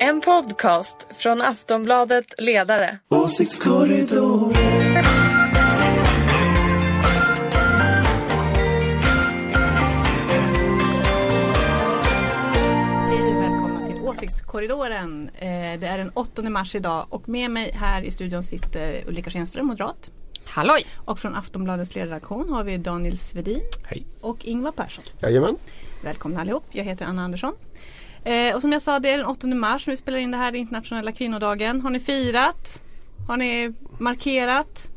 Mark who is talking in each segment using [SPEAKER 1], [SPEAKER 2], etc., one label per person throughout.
[SPEAKER 1] En podcast från Aftonbladet Ledare.
[SPEAKER 2] Hej och välkomna till Åsiktskorridoren. Eh, Det är den 8 mars idag och med mig här i studion sitter Ulrika Schenström, moderat.
[SPEAKER 3] Halloj!
[SPEAKER 2] Och från Aftonbladets ledarredaktion har vi Daniel Svedin
[SPEAKER 4] Hej.
[SPEAKER 2] och Ingvar Persson.
[SPEAKER 4] Jajamän.
[SPEAKER 2] Välkomna allihop, jag heter Anna Andersson. Eh, och som jag sa, det är den 8 mars när vi spelar in det här, det är internationella kvinnodagen. Har ni firat? Har ni markerat?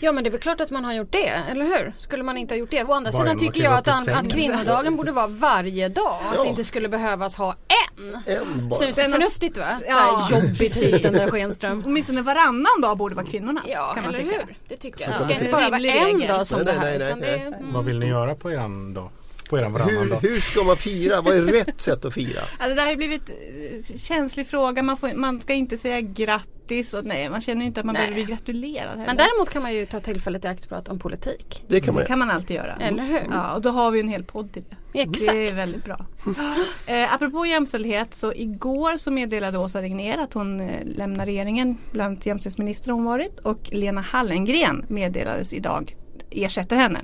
[SPEAKER 3] Ja men det är väl klart att man har gjort det, eller hur? Skulle man inte ha gjort det? Å andra
[SPEAKER 4] Varje
[SPEAKER 3] sidan
[SPEAKER 4] man
[SPEAKER 3] tycker
[SPEAKER 4] kan
[SPEAKER 3] jag
[SPEAKER 4] vara
[SPEAKER 3] att,
[SPEAKER 4] på
[SPEAKER 3] an-
[SPEAKER 4] sängen.
[SPEAKER 3] att kvinnodagen borde vara varje dag. Att det
[SPEAKER 4] Ja.
[SPEAKER 3] inte skulle behövas ha en.
[SPEAKER 4] En bara.
[SPEAKER 3] Snus är förnuftigt va?
[SPEAKER 2] Ja.
[SPEAKER 3] Ja. Jobbigt hit den där Schenström.
[SPEAKER 2] Åtminstone varannan dag borde vara kvinnornas
[SPEAKER 3] Ja,
[SPEAKER 2] kan man
[SPEAKER 3] eller
[SPEAKER 2] tycka.
[SPEAKER 3] hur? Det tycker jag.
[SPEAKER 4] Så
[SPEAKER 3] Det ska
[SPEAKER 4] där.
[SPEAKER 3] inte bara vara
[SPEAKER 2] Rimlig
[SPEAKER 3] en
[SPEAKER 2] regel.
[SPEAKER 3] dag som
[SPEAKER 4] Nej,
[SPEAKER 3] det
[SPEAKER 4] nej,
[SPEAKER 3] här.
[SPEAKER 4] nej,
[SPEAKER 3] Utan det
[SPEAKER 4] nej.
[SPEAKER 3] är, mm.
[SPEAKER 5] Vad vill ni göra på eran dag? På eran varannan
[SPEAKER 4] Hur,
[SPEAKER 5] dag?
[SPEAKER 4] hur ska man fira? Vad är rätt sätt att fira?
[SPEAKER 2] Ja, det där har ju blivit eh, känslig fråga. Man, får, man ska inte säga grattis och nej, man känner ju inte att man
[SPEAKER 3] Nej.
[SPEAKER 2] behöver bli gratulerad. heller.
[SPEAKER 3] Men däremot kan man ju ta tillfället i akt och prata om politik.
[SPEAKER 4] Det kan man
[SPEAKER 2] det
[SPEAKER 4] göra.
[SPEAKER 2] kan man alltid göra.
[SPEAKER 3] Eller hur?
[SPEAKER 2] Ja, och då har vi ju en hel podd till det.
[SPEAKER 3] Exakt.
[SPEAKER 2] Det är väldigt bra. Eh, apropå jämställdhet så igår så meddelade Åsa Regnér att hon eh, lämnar regeringen bland jämställdhetsminister hon varit och Lena Hallengren meddelades idag ersätter henne.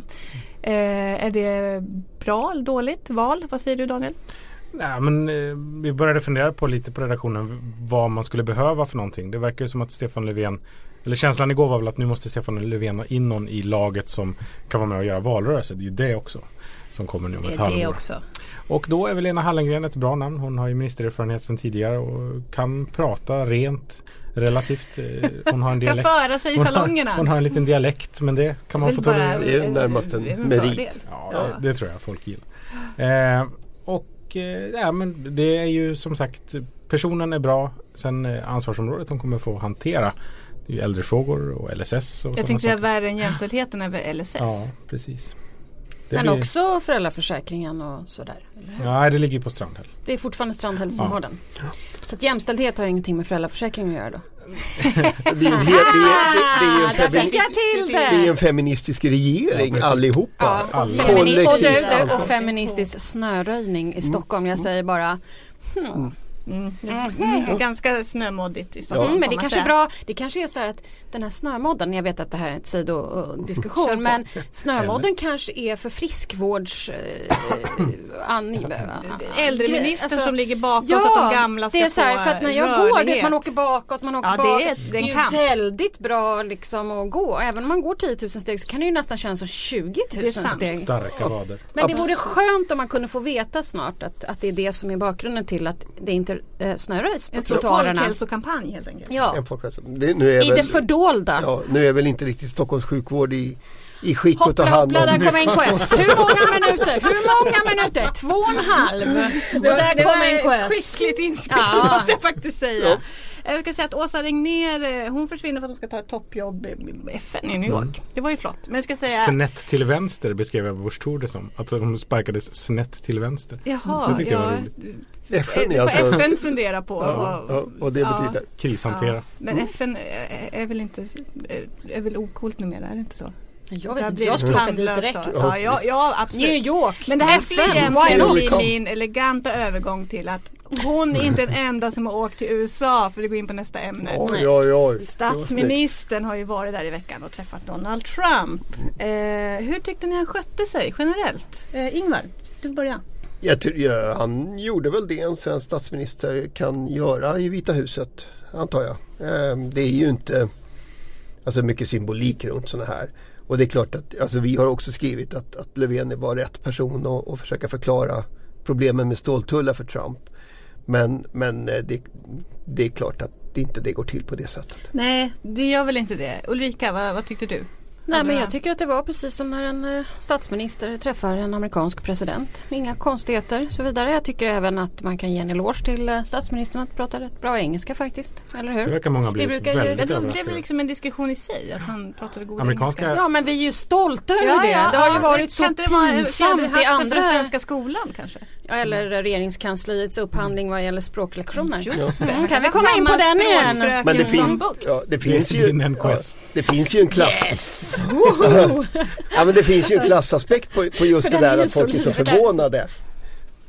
[SPEAKER 2] Eh, är det bra eller dåligt val? Vad säger du Daniel?
[SPEAKER 5] Nej, men, eh, vi började fundera på lite på redaktionen vad man skulle behöva för någonting. Det verkar ju som att Stefan Löfven eller känslan igår var väl att nu måste Stefan Löfven ha in någon i laget som kan vara med och göra valrörelse. Det är ju det också som kommer nu om ett
[SPEAKER 2] det
[SPEAKER 5] halvår.
[SPEAKER 2] också.
[SPEAKER 5] Och då är väl Lena Hallengren ett bra namn. Hon har ju ministererfarenhet sedan tidigare och kan prata rent relativt. eh, Hon har en
[SPEAKER 2] Kan
[SPEAKER 5] dialekt.
[SPEAKER 2] föra sig i
[SPEAKER 5] Hon har,
[SPEAKER 2] salongerna.
[SPEAKER 5] hon har en liten dialekt men det kan man
[SPEAKER 2] Vill
[SPEAKER 5] få ta
[SPEAKER 2] bara-
[SPEAKER 5] det
[SPEAKER 4] Det är närmast en merit.
[SPEAKER 2] fördel.
[SPEAKER 5] Ja,
[SPEAKER 2] Ja.
[SPEAKER 5] Det, det tror jag folk gillar. Eh, och eh, ja, men det är ju som sagt personen är bra. Sen eh, ansvarsområdet de kommer få hantera. Det är ju äldrefrågor och LSS. Och
[SPEAKER 2] Jag
[SPEAKER 5] sådana
[SPEAKER 2] tänkte det är
[SPEAKER 5] saker.
[SPEAKER 2] värre än jämställdheten över LSS.
[SPEAKER 5] Ja, precis. Det
[SPEAKER 3] Men
[SPEAKER 5] blir-
[SPEAKER 3] också föräldraförsäkringen och sådär. eller hur?
[SPEAKER 5] Nej, det ligger ju på Strandhäll.
[SPEAKER 3] Det är fortfarande Strandhäll som
[SPEAKER 5] Ja.
[SPEAKER 3] har den. Så att jämställdhet har ingenting med föräldraförsäkringen att göra då.
[SPEAKER 4] Det är ju en he- det är- det- det är ju en
[SPEAKER 3] Där
[SPEAKER 4] femi-
[SPEAKER 3] fick jag till
[SPEAKER 4] det är ju
[SPEAKER 3] det!
[SPEAKER 4] en feministisk regering
[SPEAKER 5] Ja, precis.
[SPEAKER 4] allihopa.
[SPEAKER 3] Ja, och, femini-
[SPEAKER 5] Alla.
[SPEAKER 3] och,
[SPEAKER 4] Kollektivt
[SPEAKER 3] du, du,
[SPEAKER 4] ansvar.
[SPEAKER 3] och feministisk snöröjning i Stockholm. Jag säger bara
[SPEAKER 2] Mm. Ganska snömoddigt i Stockholm.
[SPEAKER 3] Mm, men det
[SPEAKER 2] får man
[SPEAKER 3] kanske
[SPEAKER 2] säga.
[SPEAKER 3] är bra. Det kanske är så här att den här snömodden, jag vet att det här är ett
[SPEAKER 2] Kör
[SPEAKER 3] sidodiskussion,
[SPEAKER 2] på.
[SPEAKER 3] men snömodden kanske är för friskvårds... Eh, an, gre-
[SPEAKER 2] Äldreministern
[SPEAKER 3] alltså,
[SPEAKER 2] som ligger bakom
[SPEAKER 3] Ja,
[SPEAKER 2] så att de gamla ska
[SPEAKER 3] det är så här,
[SPEAKER 2] få eh,
[SPEAKER 3] för att när jag går, du vet,
[SPEAKER 2] rörlighet.
[SPEAKER 3] man åker bakåt, man åker
[SPEAKER 2] Ja, det
[SPEAKER 3] bakåt.
[SPEAKER 2] är- det är en
[SPEAKER 3] ju
[SPEAKER 2] kamp.
[SPEAKER 3] väldigt bra liksom att gå. Även om man går 10 000 steg så kan det ju nästan kännas som 20
[SPEAKER 2] Det
[SPEAKER 3] 000
[SPEAKER 2] är sant.
[SPEAKER 3] steg.
[SPEAKER 5] Starka vader.
[SPEAKER 3] Men det vore skönt om man kunde få veta snart att, att det är det som är bakgrunden till att det inte eh, snöröjs på
[SPEAKER 2] En stor
[SPEAKER 3] trottoarerna.
[SPEAKER 2] folkhälsokampanj helt enkelt.
[SPEAKER 3] Ja.
[SPEAKER 4] En folkhälsa. Det, nu, är
[SPEAKER 3] I det
[SPEAKER 4] väl,
[SPEAKER 3] fördolda.
[SPEAKER 4] ja, nu är väl inte riktigt Stockholms sjukvård i, i skick att ta
[SPEAKER 3] Hoppla
[SPEAKER 4] hand
[SPEAKER 3] hoppla, där
[SPEAKER 4] om.
[SPEAKER 3] kommer NKS. Hur många minuter? Hur många minuter? Två och en halv. Och där
[SPEAKER 2] det var
[SPEAKER 3] kommer
[SPEAKER 2] ett
[SPEAKER 3] NKS.
[SPEAKER 2] skickligt inspel
[SPEAKER 3] Ja.
[SPEAKER 2] måste jag faktiskt säga. Eh, Jag ska säga att Åsa Regnér eh, hon försvinner för att hon ska ta ett toppjobb i FN i New York. Det var ju flott. Men jag ska säga
[SPEAKER 5] Snett till vänster beskrev jag Busch Thor det som. Att de sparkades snett till vänster.
[SPEAKER 2] Jaha,
[SPEAKER 5] Det tyckte jag var
[SPEAKER 2] ja,
[SPEAKER 5] roligt.
[SPEAKER 4] FN
[SPEAKER 2] det får
[SPEAKER 4] är alltså...
[SPEAKER 2] FN fundera på.
[SPEAKER 4] Ja,
[SPEAKER 2] vad-
[SPEAKER 4] ja, och det
[SPEAKER 2] ja.
[SPEAKER 4] betyder...
[SPEAKER 5] Krishantera.
[SPEAKER 2] Ja, men FN är, är väl inte är väl okult numera, är det inte så?
[SPEAKER 3] Jag
[SPEAKER 2] Det
[SPEAKER 3] vet
[SPEAKER 2] har
[SPEAKER 3] inte,
[SPEAKER 2] blivit
[SPEAKER 3] jag skulle åka dit
[SPEAKER 2] tandlöst
[SPEAKER 3] direkt.
[SPEAKER 2] då. Ja, ja, ja,
[SPEAKER 3] New
[SPEAKER 2] absolut.
[SPEAKER 3] York.
[SPEAKER 2] Men det här skulle
[SPEAKER 3] FN, why
[SPEAKER 2] egentligen
[SPEAKER 3] not?
[SPEAKER 2] bli min eleganta övergång till att hon är inte den enda som har åkt till USA för att gå in på nästa ämne.
[SPEAKER 4] Oj, oj, oj.
[SPEAKER 2] Statsministern har ju varit där i veckan och träffat Donald Trump. Eh, hur tyckte ni han skötte sig generellt? Eh, Ingvar, du börjar.
[SPEAKER 4] Jag tror, ja, han gjorde väl det en svensk statsminister kan göra i Vita huset, antar jag. Ehm, Det är ju inte alltså mycket symbolik runt sådana här. Och det är klart att alltså, vi har också skrivit att, att Löfven var rätt person att, att försöka förklara problemen med ståltullar för Trump. Men, men eh, det, det är klart att det inte det går till på det sättet.
[SPEAKER 2] Nej, det gör väl inte det. Ulrika, vad, vad tyckte du?
[SPEAKER 3] Nej men jag tycker att det var precis som när en eh, statsminister träffar en amerikansk president. Inga konstigheter och så vidare. Jag tycker även att man kan ge en eloge till eh, statsministern att prata rätt bra engelska faktiskt. Eller
[SPEAKER 5] Det
[SPEAKER 3] hur?
[SPEAKER 5] verkar många ha blivit
[SPEAKER 3] brukar ju-
[SPEAKER 2] Jag
[SPEAKER 5] väldigt
[SPEAKER 2] tror det blev
[SPEAKER 5] överraskade.
[SPEAKER 2] liksom en diskussion i sig att han pratade god
[SPEAKER 5] Amerikanska-
[SPEAKER 2] engelska.
[SPEAKER 3] Ja men vi är ju stota över det. det har ju
[SPEAKER 2] ja,
[SPEAKER 3] varit så
[SPEAKER 2] kan inte det vara en
[SPEAKER 3] pinsamt i
[SPEAKER 2] fjäderhatten för den
[SPEAKER 3] andra
[SPEAKER 2] svenska skolan kanske?
[SPEAKER 3] Ja, eller regeringskansliets upphandling vad gäller språklektioner.
[SPEAKER 2] Just det.
[SPEAKER 3] Mm, kan vi komma in på den igen?
[SPEAKER 4] Men det,
[SPEAKER 2] som
[SPEAKER 4] fin-
[SPEAKER 2] bukt.
[SPEAKER 4] ja, det, finns,
[SPEAKER 5] Det är
[SPEAKER 4] ju,
[SPEAKER 5] din
[SPEAKER 4] ja,
[SPEAKER 5] NKS.
[SPEAKER 4] det finns ju en klass
[SPEAKER 3] Woho!
[SPEAKER 4] Ja men det finns ju en klassaspekt på, på just
[SPEAKER 3] För
[SPEAKER 4] det
[SPEAKER 3] den
[SPEAKER 4] där
[SPEAKER 3] är
[SPEAKER 4] att
[SPEAKER 3] så
[SPEAKER 4] folk är så
[SPEAKER 3] liten.
[SPEAKER 4] förvånade.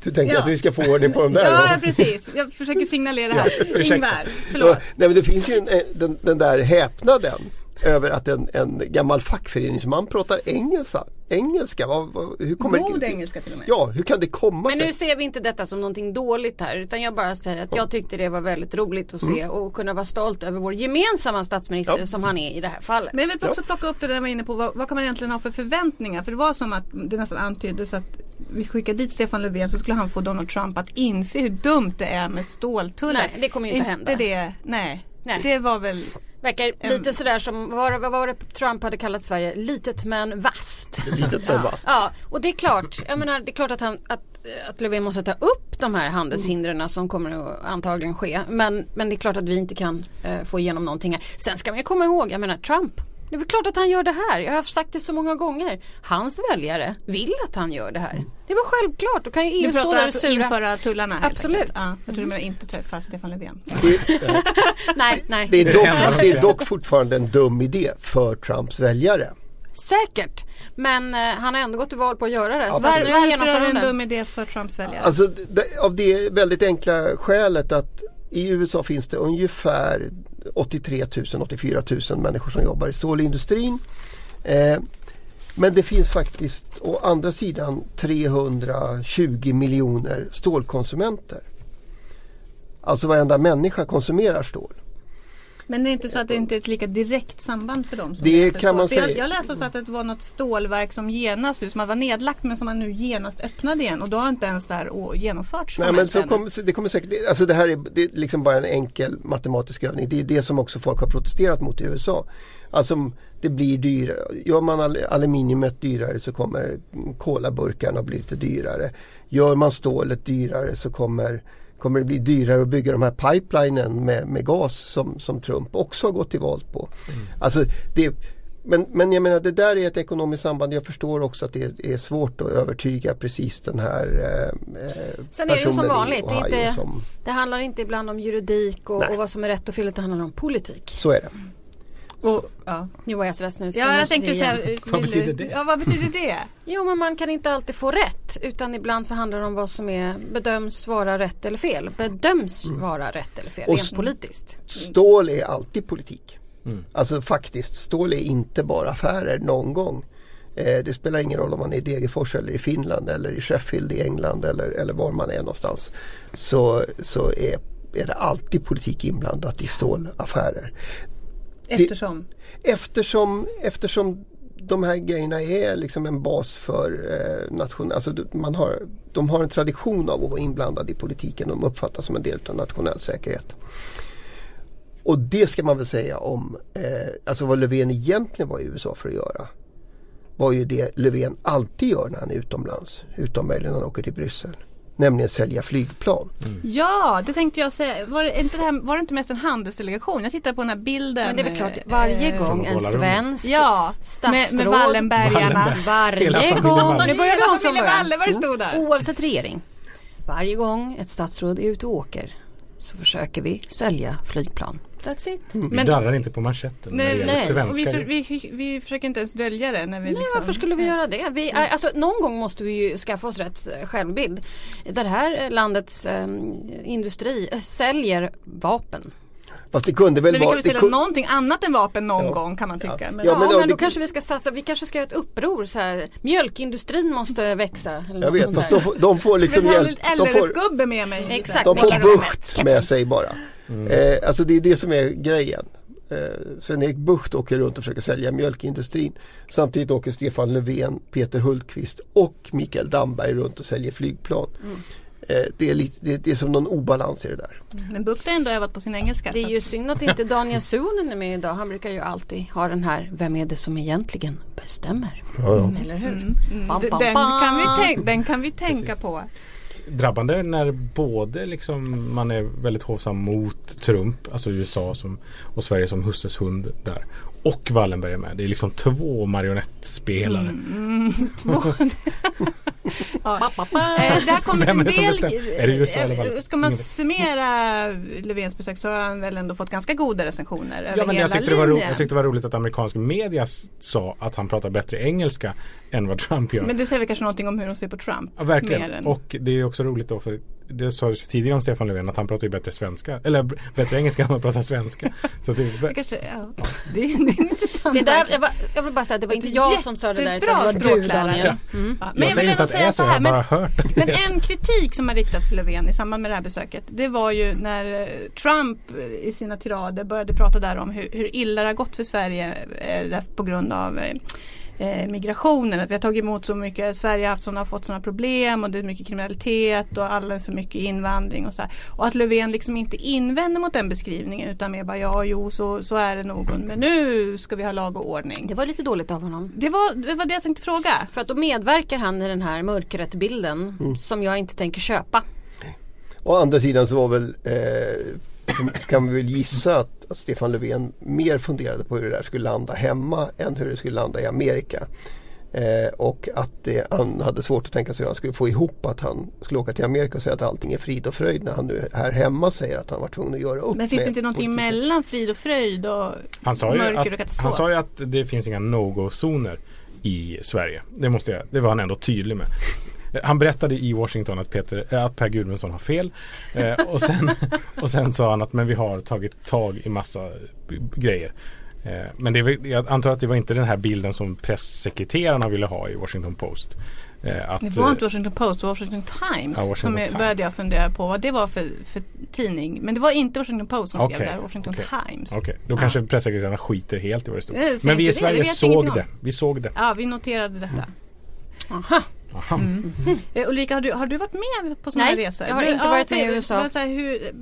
[SPEAKER 4] Du tänker
[SPEAKER 2] Ja.
[SPEAKER 4] att vi ska få ordning på dem där? va?
[SPEAKER 2] Ja, precis. Jag försöker signalera här.
[SPEAKER 5] ursäkta.
[SPEAKER 2] Ingvar, förlåt.
[SPEAKER 4] Och- Nej, men det finns ju en, eh, den, den där häpnaden över att en, en gammal fackföreningsman pratar engelska. Engelska, vad, vad, hur kommer
[SPEAKER 2] God
[SPEAKER 4] det,
[SPEAKER 2] engelska till och med.
[SPEAKER 4] Ja, hur kan det komma
[SPEAKER 3] Men
[SPEAKER 4] sig?
[SPEAKER 3] nu ser vi inte detta som någonting dåligt här utan jag bara säger att jag tyckte det var väldigt roligt att se
[SPEAKER 2] Mm.
[SPEAKER 3] och kunna vara stolt över vår gemensamma statsminister
[SPEAKER 4] Ja.
[SPEAKER 3] som han är i det här fallet.
[SPEAKER 2] Men jag vill också plocka upp det där jag var inne på. Vad, vad kan man egentligen ha för förväntningar? För det var som att det nästan antyddes att vi skickar dit Stefan Löfven så skulle han få Donald Trump att inse hur dumt det är med ståltullar.
[SPEAKER 3] Nej, det kommer ju inte hända.
[SPEAKER 2] Det, nej.
[SPEAKER 3] Nej.
[SPEAKER 2] det var väl
[SPEAKER 3] Verkar
[SPEAKER 2] En-
[SPEAKER 3] lite sådär som, vad var, vad var det Trump hade kallat Sverige? Litet men vasst.
[SPEAKER 4] Litet men vasst.
[SPEAKER 3] Ja, och det är klart, jag menar, det är klart att, han, att, att Löfven måste ta upp de här
[SPEAKER 4] Mm.
[SPEAKER 3] handelshindren som kommer att antagligen ske. Men, men det är klart att vi inte kan eh, få igenom någonting här. Sen ska man ju komma ihåg, jag menar Trump. Det är väl klart att han gör det här. Jag har sagt det så många gånger. Hans väljare vill att han gör det här. Det var självklart. Då kan ju EU
[SPEAKER 2] Du
[SPEAKER 3] stå där
[SPEAKER 2] pratar
[SPEAKER 3] och
[SPEAKER 2] att
[SPEAKER 3] sura.
[SPEAKER 2] införa tullarna helt
[SPEAKER 3] Absolut. Mm.
[SPEAKER 2] enkelt. Ja, jag tror du menar inte träffa Stefan Löfven.
[SPEAKER 4] Det, eh,
[SPEAKER 3] Nej, nej.
[SPEAKER 4] det, är dock,
[SPEAKER 5] händer.
[SPEAKER 4] det är dock fortfarande en dum idé för Trumps väljare.
[SPEAKER 3] Säkert. Men eh, han har ändå gått till val på att göra det.
[SPEAKER 4] Absolut.
[SPEAKER 3] Så nu
[SPEAKER 2] Alltså, Varför
[SPEAKER 3] genomför
[SPEAKER 2] är det
[SPEAKER 3] han
[SPEAKER 2] en
[SPEAKER 3] den.
[SPEAKER 2] dum idé för Trumps väljare?
[SPEAKER 4] Alltså det, av det väldigt enkla skälet att i USA finns det ungefär 83 000, 84 000 människor som jobbar i stålindustrin. Eh, men det finns faktiskt å andra sidan 320 miljoner stålkonsumenter. Alltså varenda människa konsumerar stål.
[SPEAKER 2] Men det är inte så att det inte är ett lika direkt samband för dem? Som
[SPEAKER 4] Det
[SPEAKER 2] är för
[SPEAKER 4] kan
[SPEAKER 2] stål?
[SPEAKER 4] man
[SPEAKER 2] För jag,
[SPEAKER 4] säga.
[SPEAKER 2] jag läste också att det var något stålverk som genast, som var nedlagt men som man nu genast öppnade igen och då har inte ens det här å- genomförts.
[SPEAKER 4] Nej, men
[SPEAKER 2] formellt
[SPEAKER 4] så
[SPEAKER 2] ännu.
[SPEAKER 4] kommer, så det kommer säkert, det- alltså det här är, det är liksom bara en enkel matematisk övning. Det är det som också folk har protesterat mot i USA. Alltså m- det blir dyrare. Gör man al- aluminiumet dyrare så kommer kolaburkarna att bli lite dyrare. Gör man stålet dyrare så kommer, kommer det bli dyrare att bygga de här pipelinen med, med gas som, som Trump också har gått till val på. Alltså det, men, men jag menar det där är ett ekonomiskt samband. Jag förstår också att det är, är svårt att övertyga precis den här eh, eh,
[SPEAKER 3] Sen är det ju som
[SPEAKER 4] personen i
[SPEAKER 3] vanligt. Det, är
[SPEAKER 4] Ohio
[SPEAKER 3] inte,
[SPEAKER 4] som-
[SPEAKER 3] det handlar inte ibland om juridik och,
[SPEAKER 4] Nej.
[SPEAKER 3] och vad som är rätt och fel utan det handlar om politik.
[SPEAKER 4] Så är det.
[SPEAKER 2] Och, ja.
[SPEAKER 3] Nu var jag så ledsen nu. så
[SPEAKER 2] ja, jag
[SPEAKER 3] måste
[SPEAKER 2] tänkte
[SPEAKER 3] vi
[SPEAKER 2] så här,
[SPEAKER 3] igen.
[SPEAKER 2] vill
[SPEAKER 5] Vad
[SPEAKER 2] du-
[SPEAKER 5] betyder det?
[SPEAKER 2] Ja, vad betyder det?
[SPEAKER 3] Jo men man kan inte alltid få rätt utan ibland så handlar det om vad som är bedöms vara rätt eller fel. Bedöms vara rätt eller fel
[SPEAKER 4] Mm. Och s-
[SPEAKER 3] rent politiskt.
[SPEAKER 4] Stål är alltid politik. Alltså faktiskt, stål är inte bara affärer någon gång. Eh, det spelar ingen roll om man är i Degerfors eller i Finland eller i Sheffield i England eller, eller var man är någonstans. Så, så är, är det alltid politik inblandat i stålaffärer.
[SPEAKER 2] Eftersom.
[SPEAKER 4] Eftersom, eftersom de här grejerna är liksom en bas för eh, nation, alltså du- man har, de har en tradition av att vara inblandade i politiken. De uppfattas som en del av nationell säkerhet. Och det ska man väl säga om, eh, alltså vad Löfven egentligen var i USA för att göra var ju det Löfven alltid gör när han är utomlands, utom möjligen när han åker till Bryssel. Nämligen sälja flygplan.
[SPEAKER 2] Mm. Ja, det tänkte jag säga. Var det, inte det här, var det inte mest en handelsdelegation? Jag tittar på den här bilden.
[SPEAKER 3] Men det är väl klart
[SPEAKER 2] eh,
[SPEAKER 3] varje
[SPEAKER 2] eh,
[SPEAKER 3] gång en
[SPEAKER 5] Från
[SPEAKER 3] svensk
[SPEAKER 2] Ja, med, med
[SPEAKER 3] statsråd-
[SPEAKER 2] Wallenbergarna.
[SPEAKER 5] Hela
[SPEAKER 3] Varje
[SPEAKER 5] familjen
[SPEAKER 3] gång.
[SPEAKER 5] Wallenberg.
[SPEAKER 3] Nu börjar jag om från Mm. början.
[SPEAKER 2] Wallenberg stod där.
[SPEAKER 3] Oavsett regering. Varje gång ett statsråd är ute och åker så försöker vi sälja flygplan. That's it.
[SPEAKER 5] Vi
[SPEAKER 2] Men-
[SPEAKER 5] darrar inte på manschetten när det gäller
[SPEAKER 3] nej.
[SPEAKER 2] Och vi,
[SPEAKER 5] svenskar.
[SPEAKER 2] för, vi, vi försöker inte ens dölja det. När vi
[SPEAKER 3] Nej,
[SPEAKER 2] liksom,
[SPEAKER 3] varför skulle vi göra det? Vi, är- alltså, någon gång måste vi ju skaffa oss rätt eh, självbild. Det här eh, landets eh, industri eh, säljer vapen.
[SPEAKER 4] Fast det kunde
[SPEAKER 2] Men
[SPEAKER 4] väl
[SPEAKER 2] vi kan
[SPEAKER 4] vara...
[SPEAKER 2] väl
[SPEAKER 4] det
[SPEAKER 2] sälja
[SPEAKER 4] kun-
[SPEAKER 2] någonting annat än vapen någon
[SPEAKER 4] Ja.
[SPEAKER 2] gång kan man tycka.
[SPEAKER 4] Ja.
[SPEAKER 2] Men,
[SPEAKER 3] Ja,
[SPEAKER 4] Ja,
[SPEAKER 3] men,
[SPEAKER 4] men då-
[SPEAKER 3] då
[SPEAKER 4] det-
[SPEAKER 3] kanske vi ska satsa, vi kanske ska göra ett uppror så här. Mjölkindustrin måste växa. eller
[SPEAKER 4] jag vet,
[SPEAKER 3] något
[SPEAKER 4] fast de
[SPEAKER 3] sånt
[SPEAKER 4] får, de får liksom
[SPEAKER 2] liksom jag vill
[SPEAKER 4] hjälp.
[SPEAKER 2] ha en
[SPEAKER 4] De får,
[SPEAKER 2] LRF-gubbe med mig.
[SPEAKER 3] Exakt.
[SPEAKER 4] De
[SPEAKER 3] Mikael
[SPEAKER 4] får
[SPEAKER 3] Rosenberg.
[SPEAKER 4] Bucht med
[SPEAKER 3] Kepsen.
[SPEAKER 4] sig bara. Eh, alltså det är det som är grejen. Eh, Sven-Erik Bucht åker runt och försöker sälja mjölkindustrin. Samtidigt åker Stefan Löfven, Peter Hultqvist och Mikael Damberg runt och säljer flygplan.
[SPEAKER 3] Mm.
[SPEAKER 4] Eh, det, är lite, det, det är som någon obalans i det där.
[SPEAKER 2] Men Bucht har ändå övat på sin engelska.
[SPEAKER 3] där. Det
[SPEAKER 2] så
[SPEAKER 3] är ju synd att inte Daniel Suhonen är med idag. Han brukar ju alltid ha den här, vem är det som egentligen bestämmer? Eller hur? Bam,
[SPEAKER 2] att-
[SPEAKER 3] bam,
[SPEAKER 2] Mm. den, kan
[SPEAKER 3] bam.
[SPEAKER 2] vi tänk, den kan vi tänka på.
[SPEAKER 5] drabbande när både liksom man är väldigt hovsam mot Trump, alltså USA som, och Sverige som husses hund där. Och
[SPEAKER 2] Mm.
[SPEAKER 5] Wallenberg är med. Det är liksom två marionettspelare.
[SPEAKER 2] Två- Ja.
[SPEAKER 3] Ba, ba, ba.
[SPEAKER 2] Eh, Det har kommit
[SPEAKER 5] Vem
[SPEAKER 2] en
[SPEAKER 5] är det som
[SPEAKER 2] del...
[SPEAKER 5] bestämmer? Är det USA eller vad?
[SPEAKER 2] Eh, Ska man summera Löfvens besök så har han väl ändå fått ganska goda recensioner över
[SPEAKER 5] Ja, men
[SPEAKER 2] hela
[SPEAKER 5] jag, tyckte det var ro-
[SPEAKER 2] linjen.
[SPEAKER 5] jag tyckte det var roligt att amerikansk media s- sa att han pratar bättre engelska än vad Trump gör.
[SPEAKER 2] Men det säger väl kanske någonting om hur de ser på Trump.
[SPEAKER 5] ja,
[SPEAKER 2] mer än-
[SPEAKER 5] verkligen. Och det är ju också roligt då för det sades ju tidigare om Stefan Löfven att han pratar ju bättre svenska. Eller b- bättre engelska än han pratar svenska. Så det,
[SPEAKER 2] Det Kanske, ja. det, är, det är en intressant
[SPEAKER 3] Det där,
[SPEAKER 2] tanke.
[SPEAKER 3] jag, bara, jag vill bara säga att det var inte
[SPEAKER 2] Det är
[SPEAKER 3] jag som sa det där utan det
[SPEAKER 2] jättebra
[SPEAKER 3] var du
[SPEAKER 2] språklärare.
[SPEAKER 3] Daniel. Mm.
[SPEAKER 2] Ja,
[SPEAKER 5] jag säger inte
[SPEAKER 2] ändå
[SPEAKER 5] att det är så, jag har
[SPEAKER 2] men,
[SPEAKER 5] bara hört att
[SPEAKER 2] men
[SPEAKER 5] det är så.
[SPEAKER 2] en kritik som har riktats till Löfven i samband med det här besöket det var ju när eh, Trump eh, i sina tirader började prata där om hur, hur illa det har gått för Sverige eh, där- på grund av eh, eh, migrationen, att vi har tagit emot så mycket, Sverige har haft såna, fått sådana problem och det är mycket kriminalitet och alldeles för mycket invandring och så här. Och att Löfven liksom inte invänder mot den beskrivningen utan mer bara ja, jo, så, så är det någon men nu ska vi ha lag och ordning.
[SPEAKER 3] Det var lite dåligt av honom.
[SPEAKER 2] Det var, det var det jag tänkte fråga.
[SPEAKER 3] För att då medverkar han i den här mörkret-bilden som jag inte tänker köpa.
[SPEAKER 4] Å andra sidan så var väl eh, kan vi väl gissa att, att Stefan Löfven mer funderade på hur det där skulle landa hemma än hur det skulle landa i Amerika. Eh, och att det, han hade svårt att tänka sig hur han skulle få ihop att han skulle åka till Amerika och säga att allting är frid och fröjd när han nu här hemma säger att han var tvungen att göra upp
[SPEAKER 2] Men finns
[SPEAKER 4] med
[SPEAKER 2] det inte någonting
[SPEAKER 4] politiken.
[SPEAKER 2] mellan frid och fröjd och
[SPEAKER 5] Han sa, ju
[SPEAKER 2] mörker och
[SPEAKER 5] att,
[SPEAKER 2] katastrof?
[SPEAKER 5] han sa ju att det finns inga no-go-zoner i Sverige. Det, måste jag, det var han ändå tydlig med. Eh, Han berättade i Washington att, Peter, eh, att Per Gudmundsson har fel. Eh, och, sen, och sen sa han att men vi har tagit tag i massa b- b- grejer. Eh, men det, är väl- jag antar att det var inte den här bilden som pressekreterarna ville ha i Washington Post. Eh, att,
[SPEAKER 2] det var inte
[SPEAKER 5] eh,
[SPEAKER 2] Washington Post, det var Washington Times
[SPEAKER 5] Ja, Washington
[SPEAKER 2] som jag,
[SPEAKER 5] Times.
[SPEAKER 2] började jag fundera på vad det var för, för tidning. Men det var inte Washington Post som skrev
[SPEAKER 5] Okej,
[SPEAKER 2] det, det var Washington
[SPEAKER 5] okej,
[SPEAKER 2] Times.
[SPEAKER 5] eh, Okej, då kanske pressekreterarna skiter helt i vad det stod.
[SPEAKER 2] Nej, Eh, säg
[SPEAKER 5] Men vi i
[SPEAKER 2] inte det, det
[SPEAKER 5] Sverige
[SPEAKER 2] vet jag
[SPEAKER 5] såg
[SPEAKER 2] ingenting om.
[SPEAKER 5] det. Vi såg det.
[SPEAKER 2] Ja, vi noterade detta.
[SPEAKER 5] Mm.
[SPEAKER 3] Aha.
[SPEAKER 5] Aha.
[SPEAKER 2] Eh, Ulrika, har du, har du varit med på sådana
[SPEAKER 3] Nej,
[SPEAKER 2] här resor?
[SPEAKER 3] jag har
[SPEAKER 2] Du-
[SPEAKER 3] inte varit
[SPEAKER 2] för-
[SPEAKER 3] med i USA.
[SPEAKER 2] bara Så här, hur,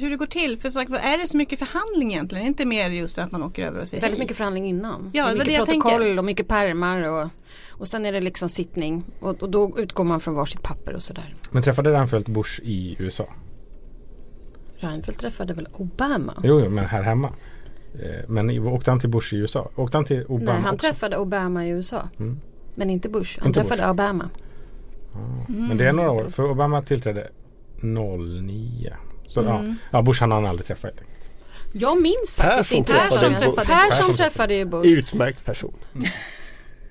[SPEAKER 2] hur det går till, för sagt, är det så mycket förhandling egentligen? Inte mer just att man åker över och säger
[SPEAKER 3] Väldigt
[SPEAKER 2] hej?
[SPEAKER 3] mycket förhandling innan.
[SPEAKER 2] Ja,
[SPEAKER 3] det
[SPEAKER 2] det
[SPEAKER 3] är
[SPEAKER 2] var
[SPEAKER 3] mycket
[SPEAKER 2] det jag tänker.
[SPEAKER 3] protokoll och mycket pärmar och, och sen är det liksom sittning och, och då utgår man från varsitt papper och sådär.
[SPEAKER 5] Men träffade Reinfeldt Bush i USA?
[SPEAKER 3] Reinfeldt träffade väl Obama?
[SPEAKER 5] Jo, jo, men här hemma. Eh, Men i- åkte han till Bush i USA? Åkte han till Obama
[SPEAKER 3] Nej, han
[SPEAKER 5] också?
[SPEAKER 3] träffade Obama i USA.
[SPEAKER 5] Mm.
[SPEAKER 3] Men inte Bush. Han
[SPEAKER 5] Inte
[SPEAKER 3] träffade Obama.
[SPEAKER 5] Men det är några år, för Obama tillträdde 09. Så ja, ja, Bush han har han aldrig träffat. helt enkelt.
[SPEAKER 3] Jag minns
[SPEAKER 4] Persson
[SPEAKER 3] faktiskt inte.
[SPEAKER 4] träffade
[SPEAKER 3] Persson
[SPEAKER 4] Bush.
[SPEAKER 3] träffade,
[SPEAKER 5] Persson
[SPEAKER 3] Persson träffade ju Bush.
[SPEAKER 4] Utmärkt person.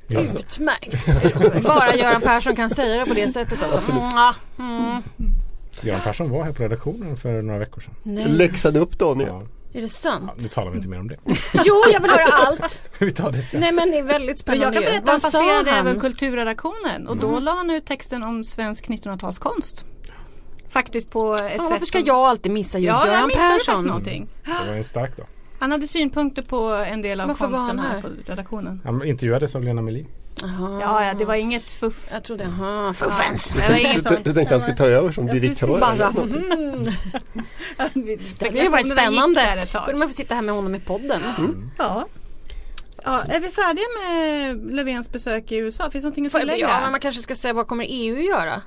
[SPEAKER 5] Ja.
[SPEAKER 3] Utmärkt. Bara Göran Persson kan säga det på det sättet också. Mm, ah, mm.
[SPEAKER 5] Göran Persson var här på redaktionen för några veckor sedan.
[SPEAKER 3] Nej,
[SPEAKER 4] Läxade upp Daniel.
[SPEAKER 5] Ja,
[SPEAKER 3] är det sant?
[SPEAKER 5] ja, nu talar vi inte mer om det.
[SPEAKER 3] Jo, jag vill höra allt.
[SPEAKER 5] vi tar det sen.
[SPEAKER 3] Nej men det är väldigt
[SPEAKER 2] Men
[SPEAKER 3] spännande.
[SPEAKER 2] jag kan berätta att
[SPEAKER 3] Vad
[SPEAKER 2] han
[SPEAKER 3] sa
[SPEAKER 2] passerade
[SPEAKER 3] han? Mm.
[SPEAKER 2] även kulturredaktionen och då la han ut texten om svensk 1900-talskonst. Faktiskt på ett
[SPEAKER 3] Ja,
[SPEAKER 2] sätt
[SPEAKER 3] varför ska
[SPEAKER 2] som-
[SPEAKER 3] jag alltid missa just
[SPEAKER 2] Ja, jag
[SPEAKER 3] Göran
[SPEAKER 2] missade faktiskt
[SPEAKER 3] Persson?
[SPEAKER 2] någonting.
[SPEAKER 5] Det var ju en stark dag.
[SPEAKER 2] Han hade synpunkter på en del av
[SPEAKER 3] Varför var
[SPEAKER 2] konsten
[SPEAKER 3] han
[SPEAKER 2] här
[SPEAKER 3] här?
[SPEAKER 2] på redaktionen.
[SPEAKER 5] Han intervjuades av Lena Melin.
[SPEAKER 3] Jaha.
[SPEAKER 2] Ja, ja, det var inget fuff.
[SPEAKER 3] Jag trodde, aha, fuffens.
[SPEAKER 2] Det var inget
[SPEAKER 4] Du, du,
[SPEAKER 2] sånt.
[SPEAKER 4] du tänkte han skulle ta över som direktör?
[SPEAKER 3] Bara,
[SPEAKER 4] eller?
[SPEAKER 3] mm.
[SPEAKER 2] Det
[SPEAKER 3] hade ju varit spännande.
[SPEAKER 2] Där ett tag.
[SPEAKER 3] Kunde man få sitta här med honom i podden?
[SPEAKER 2] Ja. Ja, är vi färdiga med Löfvens besök i USA? Finns det någonting att
[SPEAKER 3] Får-
[SPEAKER 2] tillägga?
[SPEAKER 3] Ja, men man kanske ska säga vad kommer EU göra?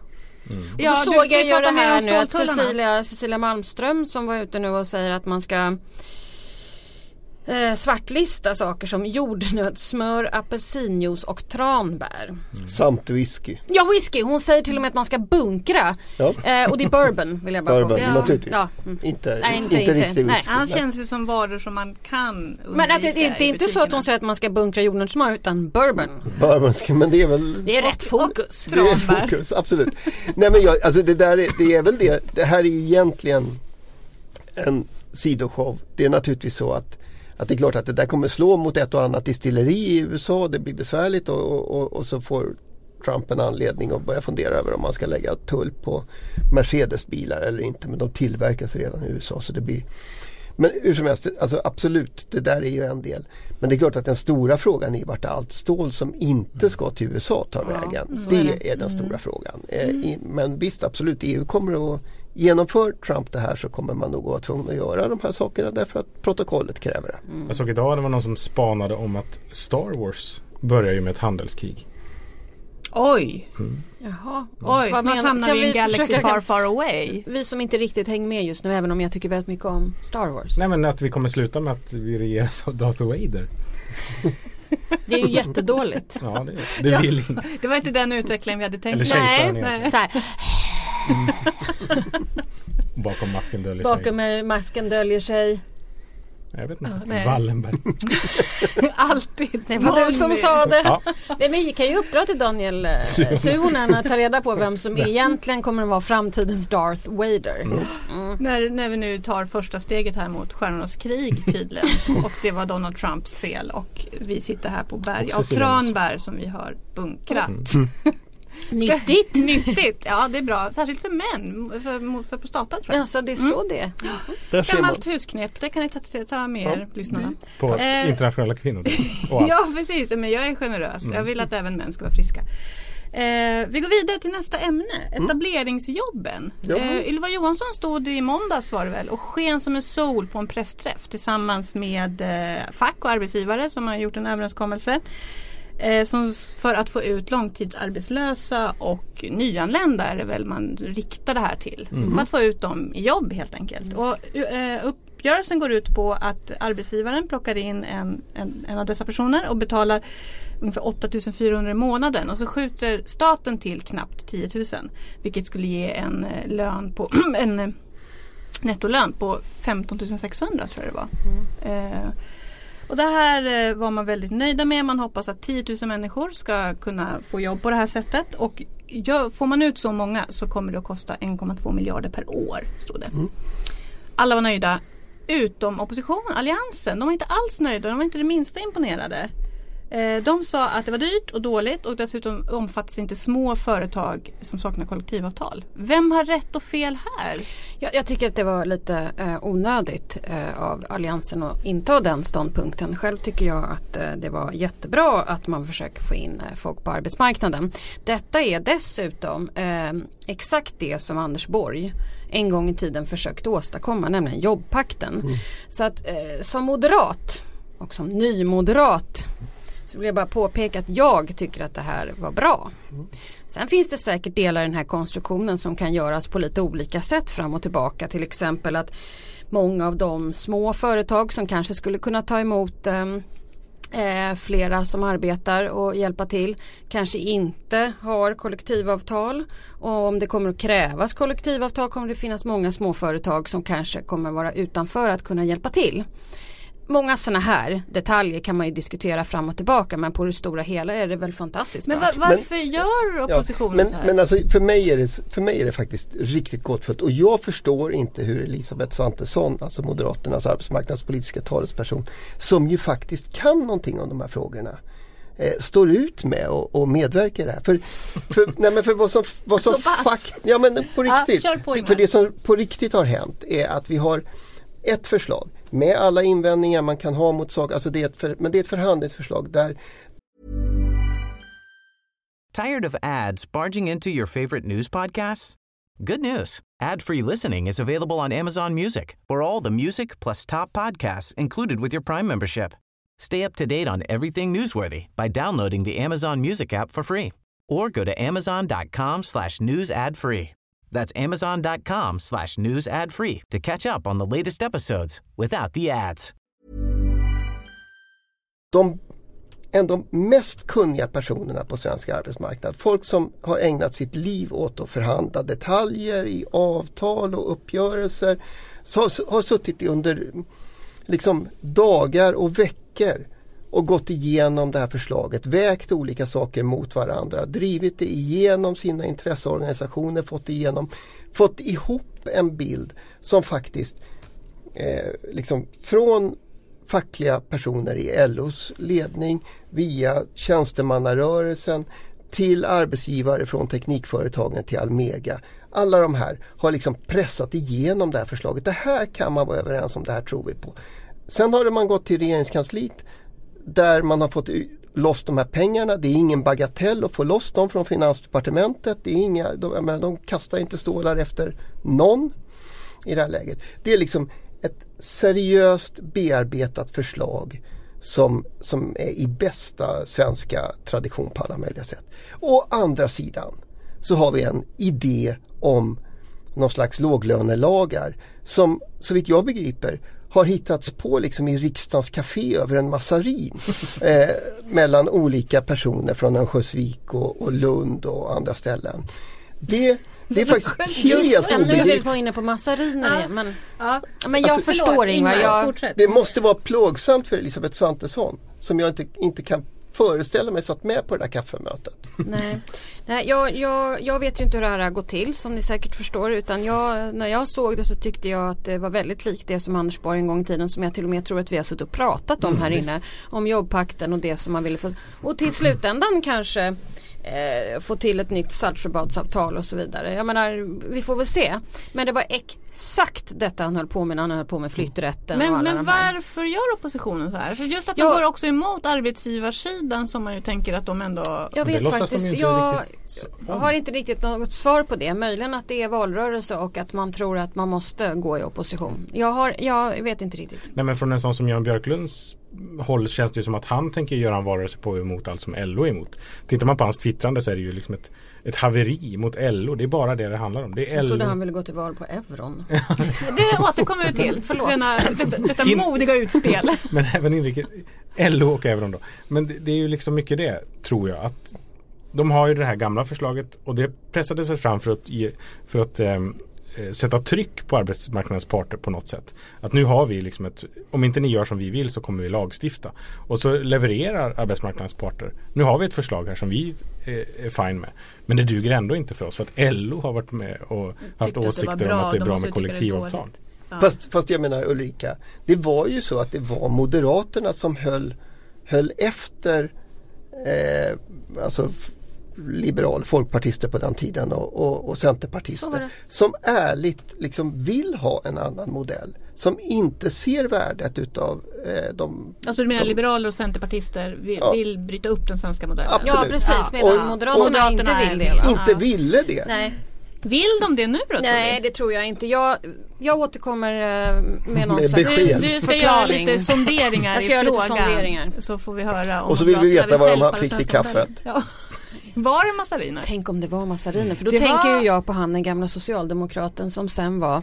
[SPEAKER 2] Ja,
[SPEAKER 3] Då
[SPEAKER 2] du
[SPEAKER 3] såg
[SPEAKER 2] ska
[SPEAKER 3] jag
[SPEAKER 2] ju
[SPEAKER 3] ju
[SPEAKER 2] prata
[SPEAKER 3] det
[SPEAKER 2] mer om
[SPEAKER 3] här nu att
[SPEAKER 2] ståltullarna.
[SPEAKER 3] Cecilia, Cecilia Malmström som var ute nu och säger att man ska eh, svartlista saker som jordnötssmör, apelsinjuice och tranbär.
[SPEAKER 4] Samt whisky.
[SPEAKER 3] Ja, whisky. Hon säger till och med att man ska bunkra.
[SPEAKER 4] Ja.
[SPEAKER 3] Eh, och det är bourbon vill jag bara
[SPEAKER 4] Bourbon,
[SPEAKER 3] påpeka.
[SPEAKER 2] Ja.
[SPEAKER 4] naturligtvis.
[SPEAKER 3] Ja. Mm.
[SPEAKER 4] Inte,
[SPEAKER 3] Nej, inte
[SPEAKER 4] inte,
[SPEAKER 3] riktigt.
[SPEAKER 4] riktig
[SPEAKER 3] Nej.
[SPEAKER 4] whisky.
[SPEAKER 2] Han känns ju som varor som man kan undvika
[SPEAKER 3] Men att det, det, det är
[SPEAKER 2] i
[SPEAKER 3] inte så att
[SPEAKER 2] butikerna.
[SPEAKER 3] hon säger att man ska bunkra jordnötssmör utan bourbon.
[SPEAKER 4] Bourbon ska- men det är väl
[SPEAKER 3] Det är rätt fokus.
[SPEAKER 4] det är
[SPEAKER 2] Tranbär.
[SPEAKER 4] fokus, absolut. Nej men jag, alltså det där är, det är väl det. Det här är ju egentligen en sidoshow. Det är naturligtvis så att, att det är klart att det där kommer slå mot ett och annat distilleri i USA. Det blir besvärligt och, och, och, och så får Trump en anledning att börja fundera över om man ska lägga tull på Mercedes-bilar eller inte. Men de tillverkas redan i USA så det blir men hur som helst, alltså absolut, det där är ju en del. Men det är klart att den stora frågan är vart allt stål som inte ska till USA tar
[SPEAKER 3] Ja, Mm,
[SPEAKER 4] vägen.
[SPEAKER 3] så
[SPEAKER 4] Det
[SPEAKER 3] är det.
[SPEAKER 4] är, den stora frågan. Eh, i- Men visst, absolut, EU kommer att Genomför Trump det här så kommer man nog att vara tvungen att göra de här sakerna därför att protokollet kräver det.
[SPEAKER 5] Jag såg idag att det var någon som spanade om att Star Wars börjar ju med ett handelskrig.
[SPEAKER 2] Oj,
[SPEAKER 3] Jaha.
[SPEAKER 2] oj,
[SPEAKER 3] Vad
[SPEAKER 2] snart
[SPEAKER 3] menar-
[SPEAKER 2] hamnar
[SPEAKER 3] kan
[SPEAKER 2] vi i en
[SPEAKER 3] vi
[SPEAKER 2] galaxy
[SPEAKER 3] försöka-
[SPEAKER 2] far far away.
[SPEAKER 3] Vi som inte riktigt hänger med just nu även om jag tycker väldigt mycket om Star Wars.
[SPEAKER 5] Nej men att vi kommer sluta med att vi regeras av Darth Vader.
[SPEAKER 3] Det är ju jättedåligt.
[SPEAKER 5] Ja, det, det vill inte.
[SPEAKER 2] Det var inte den utvecklingen vi hade tänkt
[SPEAKER 5] Eller
[SPEAKER 2] oss.
[SPEAKER 5] kejsaren
[SPEAKER 2] Nej,
[SPEAKER 5] egentligen.
[SPEAKER 2] nej.
[SPEAKER 3] Så här,
[SPEAKER 5] Bakom masken döljer sig.
[SPEAKER 3] bakom eh, masken döljer sig.
[SPEAKER 5] Jag vet
[SPEAKER 2] Ja,
[SPEAKER 5] inte.
[SPEAKER 2] nej.
[SPEAKER 5] Wallenberg.
[SPEAKER 2] Alltid.
[SPEAKER 3] Det var du som sa det.
[SPEAKER 5] Ja,
[SPEAKER 3] Nej, men vi kan ju uppdra till Daniel eh,
[SPEAKER 5] Suhonen.
[SPEAKER 3] Suhonen att ta reda på vem som egentligen kommer att vara framtidens Darth Vader. Mm.
[SPEAKER 2] När, när vi nu tar första steget här mot Stjärnornas krig tydligen. och det var Donald Trumps fel och vi sitter här på berg
[SPEAKER 5] Och
[SPEAKER 2] av
[SPEAKER 5] Cecilia
[SPEAKER 2] tranbär som vi har bunkrat.
[SPEAKER 5] Mm.
[SPEAKER 3] Nyttigt!
[SPEAKER 2] Nyttigt, ja det är bra. Särskilt för män, för, för prostata tror jag.
[SPEAKER 3] Alltså det är så det är.
[SPEAKER 4] Där ser man.
[SPEAKER 2] Gammalt husknep, det kan ni ta, ta med er lyssnarna.
[SPEAKER 5] på
[SPEAKER 2] Eh.
[SPEAKER 5] internationella kvinnor. Och allt. Mm.
[SPEAKER 2] Ja precis, men jag är generös. Jag vill att även män ska vara friska. Eh, vi går vidare till nästa ämne,
[SPEAKER 5] Mm.
[SPEAKER 2] etableringsjobben.
[SPEAKER 4] Ja.
[SPEAKER 2] Eh, Ylva Johansson stod i måndags var det väl och sken som en sol på en pressträff tillsammans med eh, fack och arbetsgivare som har gjort en överenskommelse. Eh, som s- för att få ut långtidsarbetslösa och nyanlända är det väl man riktar det här till. För att få ut dem i jobb helt enkelt. Och, eh, uppgörelsen går ut på att arbetsgivaren plockar in en, en, en av dessa personer och betalar ungefär 8400 i månaden och så skjuter staten till knappt 10 000. Vilket skulle ge en eh, lön på en eh, nettolön på 15 600 tror jag det var. Eh, och det här eh, var man väldigt nöjda med. Man hoppas att 10 000 människor ska kunna få jobb på det här sättet. Och gör, får man ut så många så kommer det att kosta 1,2 miljarder per år. Stod det. Alla var nöjda. Utom oppositionen, alliansen. De var inte alls nöjda. De var inte det minsta imponerade. Eh, De sa att det var dyrt och dåligt och dessutom omfattas inte små företag som saknar kollektivavtal. Vem har rätt och fel här?
[SPEAKER 3] Jag, jag tycker att det var lite eh, onödigt eh, av Alliansen att inta den ståndpunkten. Själv tycker jag att eh, det var jättebra att man försöker få in eh, folk på arbetsmarknaden. Detta är dessutom eh, exakt det som Anders Borg en gång i tiden försökte åstadkomma, nämligen jobbpakten. Så att eh, som moderat och som nymoderat så vill jag bara påpeka att jag tycker att det här var bra. Sen finns det säkert delar i den här konstruktionen som kan göras på lite olika sätt fram och tillbaka. Till exempel att många av de små företag som kanske skulle kunna ta emot ehm, eh, flera som arbetar och hjälpa till kanske inte har kollektivavtal och om det kommer att krävas kollektivavtal kommer det finnas många småföretag som kanske kommer vara utanför att kunna hjälpa till. Många sådana här detaljer kan man ju diskutera fram och tillbaka men på det stora hela är det väl fantastiskt
[SPEAKER 2] Men
[SPEAKER 3] bra.
[SPEAKER 2] va- varför gör
[SPEAKER 4] Ja,
[SPEAKER 2] oppositionen
[SPEAKER 4] men
[SPEAKER 2] så här?
[SPEAKER 4] men alltså, för, mig är det, för mig är det faktiskt riktigt gåtfullt och jag förstår inte hur Elisabeth Svantesson, alltså Moderaternas arbetsmarknadspolitiska talesperson, som ju faktiskt kan någonting om de här frågorna, eh, står ut med och, och medverkar i det här. För, för, nej men för vad som, vad som
[SPEAKER 2] Så pass?
[SPEAKER 4] fakt, ja men på
[SPEAKER 2] Ja,
[SPEAKER 4] riktigt,
[SPEAKER 2] kör på,
[SPEAKER 4] Det-
[SPEAKER 2] Ingmar.
[SPEAKER 4] för det som på riktigt har hänt är att vi har ett förslag med alla invändningar man kan ha mot saker, alltså det är ett för, men det är ett förhandlingsförslag där
[SPEAKER 6] Tired of ads barging into your favorite news podcasts? Good news. Ad-free listening is available on Amazon Music. For all the music plus top podcasts included with your Prime membership. Stay up to date on everything newsworthy by downloading the Amazon Music app for free or go to amazon.com slash news ad free. That's amazon.com slash news ad free to catch up on the latest episodes without the ads.
[SPEAKER 4] de, en av de mest kunniga personerna på svensk arbetsmarknad. Folk som har ägnat sitt liv åt att förhandla detaljer i avtal och uppgörelser. Så har, har suttit i under liksom, dagar och veckor och gått igenom det här förslaget, vägt olika saker mot varandra, drivit det igenom sina intresseorganisationer, fått, igenom, fått ihop en bild som faktiskt eh, liksom från fackliga personer i LOs ledning via tjänstemannarörelsen till arbetsgivare från Teknikföretagen till Almega. Alla de här har liksom pressat igenom det här förslaget. Det här kan man vara överens om, det här tror vi på. Sen har man gått till regeringskansliet där man har fått u- loss de här pengarna. Det är ingen bagatell att få loss dem från Finansdepartementet. Det är inga, de, jag menar, de kastar inte stålar efter någon i det här läget. Det är liksom ett seriöst bearbetat förslag som, som är i bästa svenska tradition på alla möjliga sätt. Å andra sidan så har vi en idé om någon slags låglönelagar som så vitt jag begriper har hittats på liksom i riksdagens café över en massarin eh, mellan olika personer från Örnsköldsvik och, och Lund och andra ställen. Det, det är faktiskt helt
[SPEAKER 3] Nu är vi
[SPEAKER 4] obegripligt.
[SPEAKER 3] på inne på massariner
[SPEAKER 2] Ja.
[SPEAKER 3] igen. Men,
[SPEAKER 2] Ja.
[SPEAKER 3] men jag
[SPEAKER 4] Alltså-
[SPEAKER 3] förstår Ingvar. Jag,
[SPEAKER 2] fortsätt.
[SPEAKER 4] Det måste vara plågsamt för Elisabeth Svantesson som jag inte, inte kan föreställa mig satt med på det där kaffemötet.
[SPEAKER 3] nej. Nej, jag, jag, jag vet ju inte hur det här har gått till som ni säkert förstår. Utan jag, när jag såg det så tyckte jag att det var väldigt likt det som Anders Borg en gång i tiden som jag till och med tror att vi har suttit och pratat om här inne. Om jobbpakten och det som man ville få. Och till slutändan kanske eh, få till ett nytt Saltsjöbadsavtal och så vidare. Jag menar, vi får väl se. Men det var exakt detta han höll på med när han höll på med flytträtten. och
[SPEAKER 2] Men,
[SPEAKER 3] alla
[SPEAKER 2] men
[SPEAKER 3] de här.
[SPEAKER 2] varför gör oppositionen så här? För just att
[SPEAKER 3] Ja.
[SPEAKER 2] de går också emot arbetsgivarsidan som man ju tänker att de ändå...
[SPEAKER 3] Jag
[SPEAKER 5] Men det
[SPEAKER 3] vet
[SPEAKER 5] låtsas de ju
[SPEAKER 3] faktiskt.
[SPEAKER 5] inte
[SPEAKER 3] jag
[SPEAKER 5] riktigt så
[SPEAKER 3] jag
[SPEAKER 5] om.
[SPEAKER 3] har inte riktigt något svar på det. Möjligen att det är valrörelse och att man tror att man måste gå i opposition. Jag, har, jag vet inte riktigt.
[SPEAKER 5] Nej men från en sån som Jan Björklunds håll känns det ju som att han tänker göra en varelse på emot allt som LO är emot. Tittar man på hans twittrande så är det ju liksom ett, ett haveri mot LO. Det är bara det det handlar om. Det är
[SPEAKER 3] Jag trodde han
[SPEAKER 5] LO.
[SPEAKER 3] ville gå till val på euron.
[SPEAKER 2] Det återkommer vi till.
[SPEAKER 3] Förlåt.
[SPEAKER 2] Denna, detta, detta
[SPEAKER 5] In-
[SPEAKER 2] modiga utspel.
[SPEAKER 5] Men även inrikes. LO och euron då. Men det, det är ju liksom mycket det tror jag. Att de har ju det här gamla förslaget och det pressades väl fram för att, ge, för att ehm, eh, sätta tryck på arbetsmarknadens parter på något sätt. Att nu har vi liksom ett, om inte ni gör som vi vill så kommer vi lagstifta. Och så levererar arbetsmarknadens parter. Nu har vi ett förslag här som vi eh, är fine med. Men det duger ändå inte för oss för att LO har varit med och haft
[SPEAKER 2] Tyckte att det
[SPEAKER 5] åsikter
[SPEAKER 2] var bra,
[SPEAKER 5] om att det
[SPEAKER 2] de
[SPEAKER 5] är bra
[SPEAKER 2] måste
[SPEAKER 5] med
[SPEAKER 2] ju tycka det är
[SPEAKER 5] kollektivavtal.
[SPEAKER 2] dåligt.
[SPEAKER 4] Fast, fast jag menar Ulrika, det var ju så att det var Moderaterna som höll, höll efter eh, alltså f- liberal folkpartister på den tiden och, och, och
[SPEAKER 3] Så var
[SPEAKER 4] centerpartister
[SPEAKER 3] det.
[SPEAKER 4] som ärligt liksom vill ha en annan modell som inte ser värdet utav eh, de
[SPEAKER 2] Alltså du menar liberaler och centerpartister vill,
[SPEAKER 4] Ja.
[SPEAKER 2] vill bryta upp den svenska modellen?
[SPEAKER 4] Absolut.
[SPEAKER 3] Ja precis, medan
[SPEAKER 4] Och-
[SPEAKER 3] Moderaterna,
[SPEAKER 2] och-
[SPEAKER 3] inte vill det. Va?
[SPEAKER 4] inte ville det.
[SPEAKER 3] Nej,
[SPEAKER 2] Vill de det nu då
[SPEAKER 3] nej, det tror jag inte. Jag, jag återkommer eh, med någon
[SPEAKER 4] Med
[SPEAKER 3] slags
[SPEAKER 2] tror
[SPEAKER 4] besked.
[SPEAKER 2] du? Du ska göra
[SPEAKER 3] förklaring.
[SPEAKER 2] lite sonderingar
[SPEAKER 3] Jag ska göra
[SPEAKER 2] i
[SPEAKER 3] lite
[SPEAKER 2] frågan.
[SPEAKER 3] sonderingar.
[SPEAKER 2] Så får vi höra om
[SPEAKER 4] Och så vill vi
[SPEAKER 2] Moderaterna
[SPEAKER 4] veta vad de
[SPEAKER 2] stjälpa den
[SPEAKER 4] fick till
[SPEAKER 2] svenska
[SPEAKER 4] kaffet.
[SPEAKER 2] modellen. Ja. Var det massariner?
[SPEAKER 3] Tänk om det var massariner. För då
[SPEAKER 2] Det
[SPEAKER 3] tänker
[SPEAKER 2] var-
[SPEAKER 3] ju jag på han den gamla socialdemokraten som sen var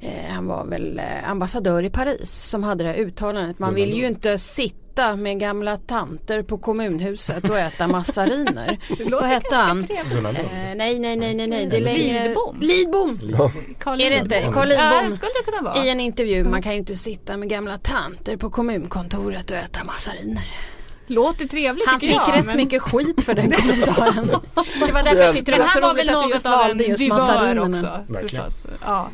[SPEAKER 3] eh, Han var väl eh, ambassadör i Paris som hade det här uttalandet. Man vill ju inte sitta med gamla tanter på kommunhuset och äta massariner. Vad hette han?
[SPEAKER 5] Gunnar Lund.
[SPEAKER 3] Eh, nej, nej, nej, nej, nej. Det är längre...
[SPEAKER 2] Lidbom?
[SPEAKER 3] Lidbom!
[SPEAKER 4] Ja.
[SPEAKER 2] Carl
[SPEAKER 3] Är det
[SPEAKER 2] Lidbom.
[SPEAKER 3] inte? Carl
[SPEAKER 2] Ja, Mm. det
[SPEAKER 3] Lidbom.
[SPEAKER 2] skulle det kunna vara.
[SPEAKER 3] I en intervju, man kan ju inte sitta med gamla tanter på kommunkontoret och äta massariner.
[SPEAKER 2] Låter trevligt
[SPEAKER 3] Han
[SPEAKER 2] tycker
[SPEAKER 3] fick
[SPEAKER 2] jag.
[SPEAKER 3] rätt
[SPEAKER 2] men-
[SPEAKER 3] mycket skit för den kommentaren. Det var därför jag tyckte det
[SPEAKER 2] Men
[SPEAKER 3] var så
[SPEAKER 2] han var väl
[SPEAKER 3] roligt att du
[SPEAKER 2] något
[SPEAKER 3] just
[SPEAKER 2] av
[SPEAKER 3] valde
[SPEAKER 2] en
[SPEAKER 3] just
[SPEAKER 2] duvör
[SPEAKER 3] massarinerna.
[SPEAKER 2] också.
[SPEAKER 5] Verkligen. Mm.
[SPEAKER 2] Förstås. Ja.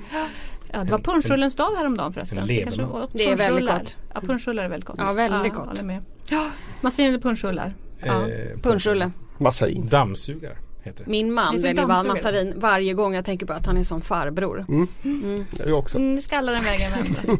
[SPEAKER 2] ja, det var punschrullens dag häromdagen förresten.
[SPEAKER 5] En
[SPEAKER 2] så jag kanske
[SPEAKER 5] levande.
[SPEAKER 2] åt
[SPEAKER 3] Det är väldigt
[SPEAKER 2] punschrullar.
[SPEAKER 3] gott.
[SPEAKER 2] Ja, punschrullar är väldigt gott.
[SPEAKER 3] Ja, väldigt gott.
[SPEAKER 2] håller med. Ja, massor eller punschrullar. Ja.
[SPEAKER 5] Eh,
[SPEAKER 3] Punschrulle.
[SPEAKER 4] Massarin.
[SPEAKER 5] Dammsugare heter det.
[SPEAKER 3] Min man
[SPEAKER 2] Lite
[SPEAKER 3] vill ju vara
[SPEAKER 2] dammsugare.
[SPEAKER 3] massarin varje gång jag tänker på att han är som farbror.
[SPEAKER 4] Jag också.
[SPEAKER 2] Mm, vi ska alla den vägen. hem.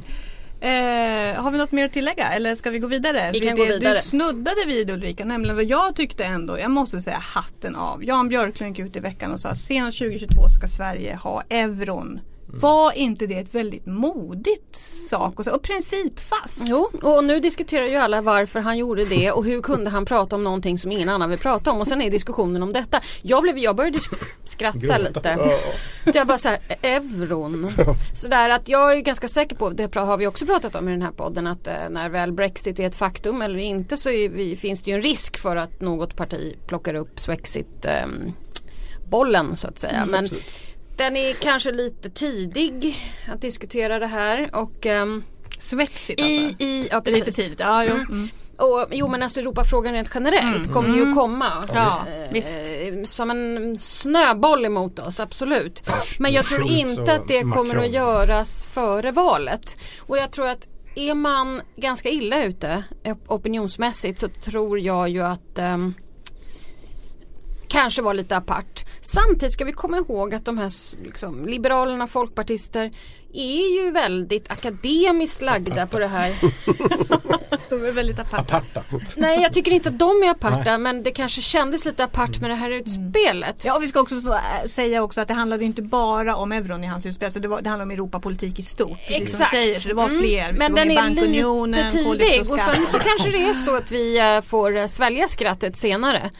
[SPEAKER 2] Eh, har vi något mer att tillägga eller ska vi gå vidare?
[SPEAKER 3] Vi kan
[SPEAKER 2] det,
[SPEAKER 3] gå vidare.
[SPEAKER 2] Du snuddade vid Ulrika, nämligen vad jag tyckte ändå, jag måste säga hatten av. Jan Björklund gick ut i veckan och sa att senast 2022 ska Sverige ha euron. Var inte det ett väldigt modigt sak och, så, och principfast?
[SPEAKER 3] Jo, och nu diskuterar ju alla varför han gjorde det och hur kunde han prata om någonting som ingen annan vill prata om och sen är diskussionen om detta. Jag, blev, jag började sk- skratta
[SPEAKER 5] Gråta.
[SPEAKER 3] lite. Jag bara så här, euron. Sådär att jag är ganska säker på, det har vi också pratat om i den här podden, att eh, när väl Brexit är ett faktum eller inte så är vi, finns det ju en risk för att något parti plockar upp Swexit ehm, bollen så att säga. Men den är kanske lite tidig att diskutera det här och ehm,
[SPEAKER 2] Svexit
[SPEAKER 3] i,
[SPEAKER 2] alltså.
[SPEAKER 3] i, ja,
[SPEAKER 2] Det är Lite
[SPEAKER 3] precis.
[SPEAKER 2] tidigt, ja jo. Mm.
[SPEAKER 3] Och, jo men alltså Europafrågan rent generellt kommer ju att komma.
[SPEAKER 2] Ja,
[SPEAKER 3] eh,
[SPEAKER 2] visst.
[SPEAKER 3] Som en snöboll emot oss, absolut. Men jag tror
[SPEAKER 5] Schultz och
[SPEAKER 3] inte att det kommer
[SPEAKER 5] Macron.
[SPEAKER 3] att göras före valet. Och jag tror att är man ganska illa ute eh, opinionsmässigt så tror jag ju att ehm, kanske var lite apart. Samtidigt ska vi komma ihåg att de här s- liksom, liberalerna, folkpartister är ju väldigt akademiskt lagda på det här Eh.
[SPEAKER 2] De är väldigt aparta.
[SPEAKER 5] Aparta.
[SPEAKER 3] Nej jag tycker inte att de är aparta men det kanske kändes lite apart med det här utspelet.
[SPEAKER 2] Mm. Ja, och vi ska också få äh, säga också att det handlade inte bara om euron i hans utspel. Så det, var, det handlade om Europapolitik i stort. Precis
[SPEAKER 3] Exakt.
[SPEAKER 2] Som du säger, så det var
[SPEAKER 3] Mm.
[SPEAKER 2] fler. Vi ska
[SPEAKER 3] Men
[SPEAKER 2] gå in
[SPEAKER 3] den
[SPEAKER 2] i
[SPEAKER 3] är
[SPEAKER 2] bankunionen,
[SPEAKER 3] lite tidig och
[SPEAKER 2] koldioxidskatt.
[SPEAKER 3] sen så kanske det är så att vi eh, får eh, svälja skrattet senare.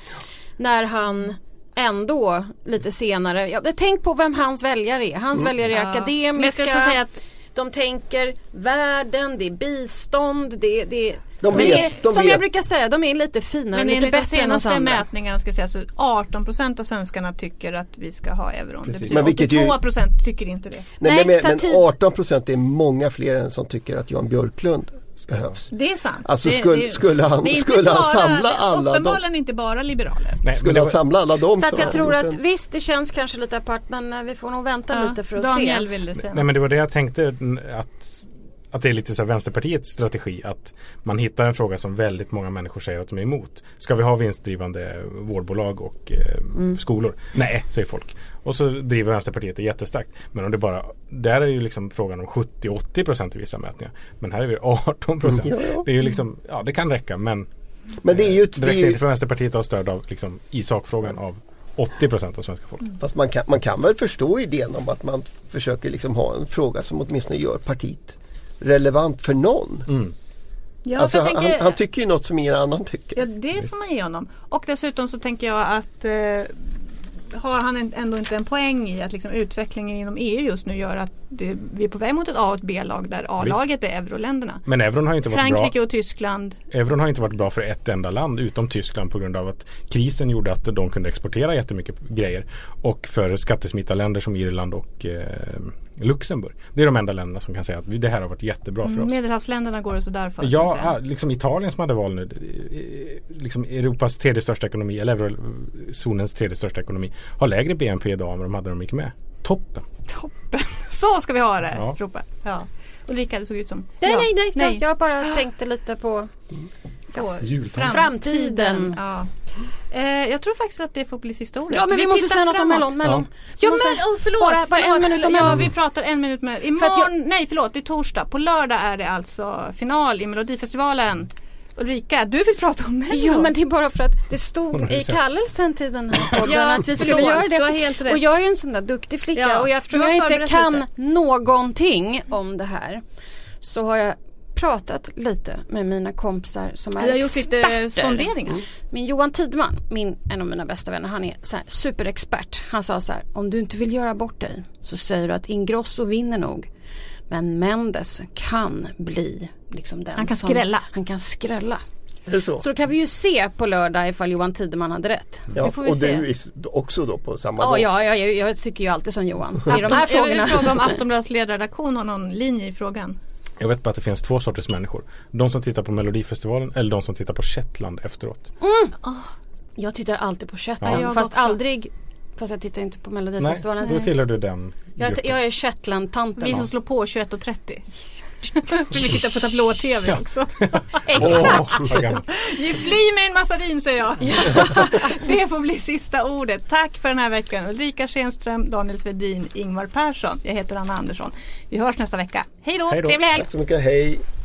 [SPEAKER 3] När han ändå lite senare, ja, tänk på vem hans väljare är. Hans väljare är
[SPEAKER 4] Mm.
[SPEAKER 2] Men jag
[SPEAKER 3] akademiska.
[SPEAKER 2] ska också säga att
[SPEAKER 3] De tänker världen, det är bistånd, det, det
[SPEAKER 4] De
[SPEAKER 3] är,
[SPEAKER 4] vet, de
[SPEAKER 3] Som
[SPEAKER 4] vet.
[SPEAKER 3] jag brukar säga, de är lite finare,
[SPEAKER 2] Men
[SPEAKER 3] lite
[SPEAKER 2] enligt de
[SPEAKER 3] bättre än oss
[SPEAKER 2] senaste
[SPEAKER 3] andra.
[SPEAKER 2] mätningarna ska sägas att 18 procent av svenskarna tycker att vi ska ha euron.
[SPEAKER 5] Precis.
[SPEAKER 2] Det betyder
[SPEAKER 4] Men vilket ju-
[SPEAKER 2] 82 procent tycker inte det.
[SPEAKER 4] Nej,
[SPEAKER 3] Nej,
[SPEAKER 4] men,
[SPEAKER 3] så typ-
[SPEAKER 4] men
[SPEAKER 3] tid-
[SPEAKER 4] 18 procent är många fler än som tycker att Jan Björklund ska höfs.
[SPEAKER 3] Mm.
[SPEAKER 2] Det är sant.
[SPEAKER 4] Alltså,
[SPEAKER 2] det,
[SPEAKER 4] skulle-
[SPEAKER 2] det-
[SPEAKER 4] skulle han-
[SPEAKER 2] det är inte
[SPEAKER 4] skulle han
[SPEAKER 2] bara-
[SPEAKER 4] samla alla de-
[SPEAKER 2] Uppenbarligen inte bara liberaler.
[SPEAKER 5] Nej, men
[SPEAKER 4] Skulle
[SPEAKER 5] det
[SPEAKER 4] han
[SPEAKER 5] var,
[SPEAKER 4] samla alla dem
[SPEAKER 3] Så
[SPEAKER 4] som
[SPEAKER 3] att jag
[SPEAKER 4] har
[SPEAKER 3] tror
[SPEAKER 4] gjort
[SPEAKER 3] att
[SPEAKER 4] en-
[SPEAKER 3] visst det känns kanske lite apart men eh, vi får nog vänta
[SPEAKER 2] Ja,
[SPEAKER 3] lite för att
[SPEAKER 2] Daniel
[SPEAKER 3] se.
[SPEAKER 2] ville säga.
[SPEAKER 5] nej men det var det jag tänkte n- att, att det är lite så här Vänsterpartiets strategi att man hittar en fråga som väldigt många människor säger att de är emot. Ska vi ha vinstdrivande vårdbolag och eh,
[SPEAKER 4] Mm.
[SPEAKER 5] skolor? Nej, säger folk. Och så driver Vänsterpartiet det jättestarkt. Men om det bara, där är ju liksom frågan om 70-80% i vissa mätningar. Men här är det 18%.
[SPEAKER 4] Mm, ja, ja.
[SPEAKER 5] Det är ju liksom, ja det kan räcka men
[SPEAKER 4] Men det är ju, ett-
[SPEAKER 5] Det
[SPEAKER 4] det är
[SPEAKER 5] räcker
[SPEAKER 4] ju
[SPEAKER 5] inte för Vänsterpartiet att ha stöd av, liksom, i sakfrågan av 80 procent av svenska folket.
[SPEAKER 4] Fast man kan, man kan väl förstå idén om att man försöker liksom ha en fråga som åtminstone gör partiet relevant för någon.
[SPEAKER 5] Mm.
[SPEAKER 2] Ja,
[SPEAKER 4] alltså,
[SPEAKER 2] för
[SPEAKER 4] han,
[SPEAKER 2] jag tänker-
[SPEAKER 4] han tycker ju något som ingen annan tycker.
[SPEAKER 2] Ja, det får man ge honom. Och dessutom så tänker jag att eh, har han en- ändå inte en poäng i att liksom utvecklingen inom EU just nu gör att det, vi är på väg mot ett A och ett B-lag där A-laget är euroländerna.
[SPEAKER 5] Men euron har, inte varit bra.
[SPEAKER 2] Frankrike och Tyskland.
[SPEAKER 5] euron har inte varit bra för ett enda land utom Tyskland på grund av att krisen gjorde att de kunde exportera jättemycket grejer. Och för skattesmitarländer som Irland och eh, Luxemburg. Det är de enda länderna som kan säga att vi- det här har varit jättebra
[SPEAKER 2] Mm,
[SPEAKER 5] för oss.
[SPEAKER 2] Medelhavsländerna går det sådär för. kan
[SPEAKER 5] Ja,
[SPEAKER 2] man säga.
[SPEAKER 5] ah, liksom Italien som hade val nu. eh, Liksom Europas tredje största ekonomi, eller eurozonens tredje största ekonomi, har lägre BNP idag än vad de hade när de gick med. Toppen!
[SPEAKER 2] Toppen! Så ska vi ha det!
[SPEAKER 5] Ja.
[SPEAKER 2] Ropar. Ja. Ulrika, du såg ut som...
[SPEAKER 3] Nej,
[SPEAKER 2] Ja.
[SPEAKER 3] nej, nej,
[SPEAKER 2] Nej.
[SPEAKER 3] nej. Ah. Jag bara tänkte lite på
[SPEAKER 2] På
[SPEAKER 5] Jultomten.
[SPEAKER 3] Framtiden.
[SPEAKER 2] Ja. Eh, jag tror faktiskt att det får bli sista ordet.
[SPEAKER 3] Ja men vi, måste
[SPEAKER 2] tittar
[SPEAKER 3] säga något om
[SPEAKER 2] framåt.
[SPEAKER 3] Mellon. Mellon.
[SPEAKER 2] Ja men
[SPEAKER 3] måste-
[SPEAKER 2] oh, förlåt!
[SPEAKER 3] Bara- bara en
[SPEAKER 2] förlåt,
[SPEAKER 3] minut om
[SPEAKER 2] förlåt. Ja
[SPEAKER 3] Mellon.
[SPEAKER 2] vi pratar en minut med
[SPEAKER 3] För att
[SPEAKER 2] Imorgon,
[SPEAKER 3] jag-
[SPEAKER 2] nej förlåt det är torsdag. På lördag är det alltså final i Melodifestivalen. Ulrika, du vill prata om Mellon.
[SPEAKER 3] Jo men det är bara för att det stod
[SPEAKER 5] Hon
[SPEAKER 3] i
[SPEAKER 5] sa-
[SPEAKER 3] kallelsen till den här podden
[SPEAKER 2] Ja,
[SPEAKER 3] att vi skulle
[SPEAKER 2] förlåt,
[SPEAKER 3] göra det.
[SPEAKER 2] du har helt rätt.
[SPEAKER 3] Och jag är ju en sån där duktig flicka
[SPEAKER 2] Ja,
[SPEAKER 3] och
[SPEAKER 2] du har
[SPEAKER 3] eftersom jag inte
[SPEAKER 2] förberett
[SPEAKER 3] kan
[SPEAKER 2] lite.
[SPEAKER 3] någonting om det här så har jag pratat lite med mina kompisar som är
[SPEAKER 2] Vi har gjort lite
[SPEAKER 3] experter.
[SPEAKER 2] sonderingar.
[SPEAKER 3] Min Johan Tidman, min, en av mina bästa vänner, han är så här superexpert. Han sa så här, om du inte vill göra bort dig så säger du att Ingrosso vinner nog. Men Mendes kan bli liksom den
[SPEAKER 2] Han kan
[SPEAKER 3] som,
[SPEAKER 2] skrälla.
[SPEAKER 3] Han kan skrälla.
[SPEAKER 4] Är det så?
[SPEAKER 3] Så då kan vi ju se på lördag ifall Johan Tideman hade rätt.
[SPEAKER 4] ja,
[SPEAKER 3] det får vi
[SPEAKER 4] och
[SPEAKER 3] se.
[SPEAKER 4] du är s- också då på samma
[SPEAKER 3] Ja,
[SPEAKER 4] gång.
[SPEAKER 3] ja, ja, jag, jag tycker ju alltid som Johan i de här
[SPEAKER 2] Afton- Jag
[SPEAKER 3] frågorna.
[SPEAKER 2] vill fråga om Aftonbladets ledarredaktion har någon linje i frågan.
[SPEAKER 5] Jag vet bara att det finns två sorters människor. De som tittar på Melodifestivalen eller de som tittar på Shetland efteråt.
[SPEAKER 3] Jag tittar alltid på
[SPEAKER 2] Ja,
[SPEAKER 3] Shetland
[SPEAKER 2] jag
[SPEAKER 3] fast
[SPEAKER 2] också.
[SPEAKER 3] aldrig Fast jag tittar inte på
[SPEAKER 5] Nej, typ-
[SPEAKER 3] Melodifestivalen.
[SPEAKER 5] då tillhör du den
[SPEAKER 3] Jag,
[SPEAKER 5] gruppen.
[SPEAKER 3] jag är Shetland-tanten.
[SPEAKER 2] Vi som slår på 21.30. För vi tittar på tablå-tv också.
[SPEAKER 5] Exakt!
[SPEAKER 2] Ge fly med en massa vin säger jag. det får bli sista ordet. Tack för den här veckan. Ulrika Schenström, Daniel Svedin, Ingvar Persson. Jag heter Anna Andersson. Vi hörs nästa vecka. Hej då!
[SPEAKER 5] Hej då!
[SPEAKER 3] Trevlig helg!
[SPEAKER 4] Tack så mycket, hej!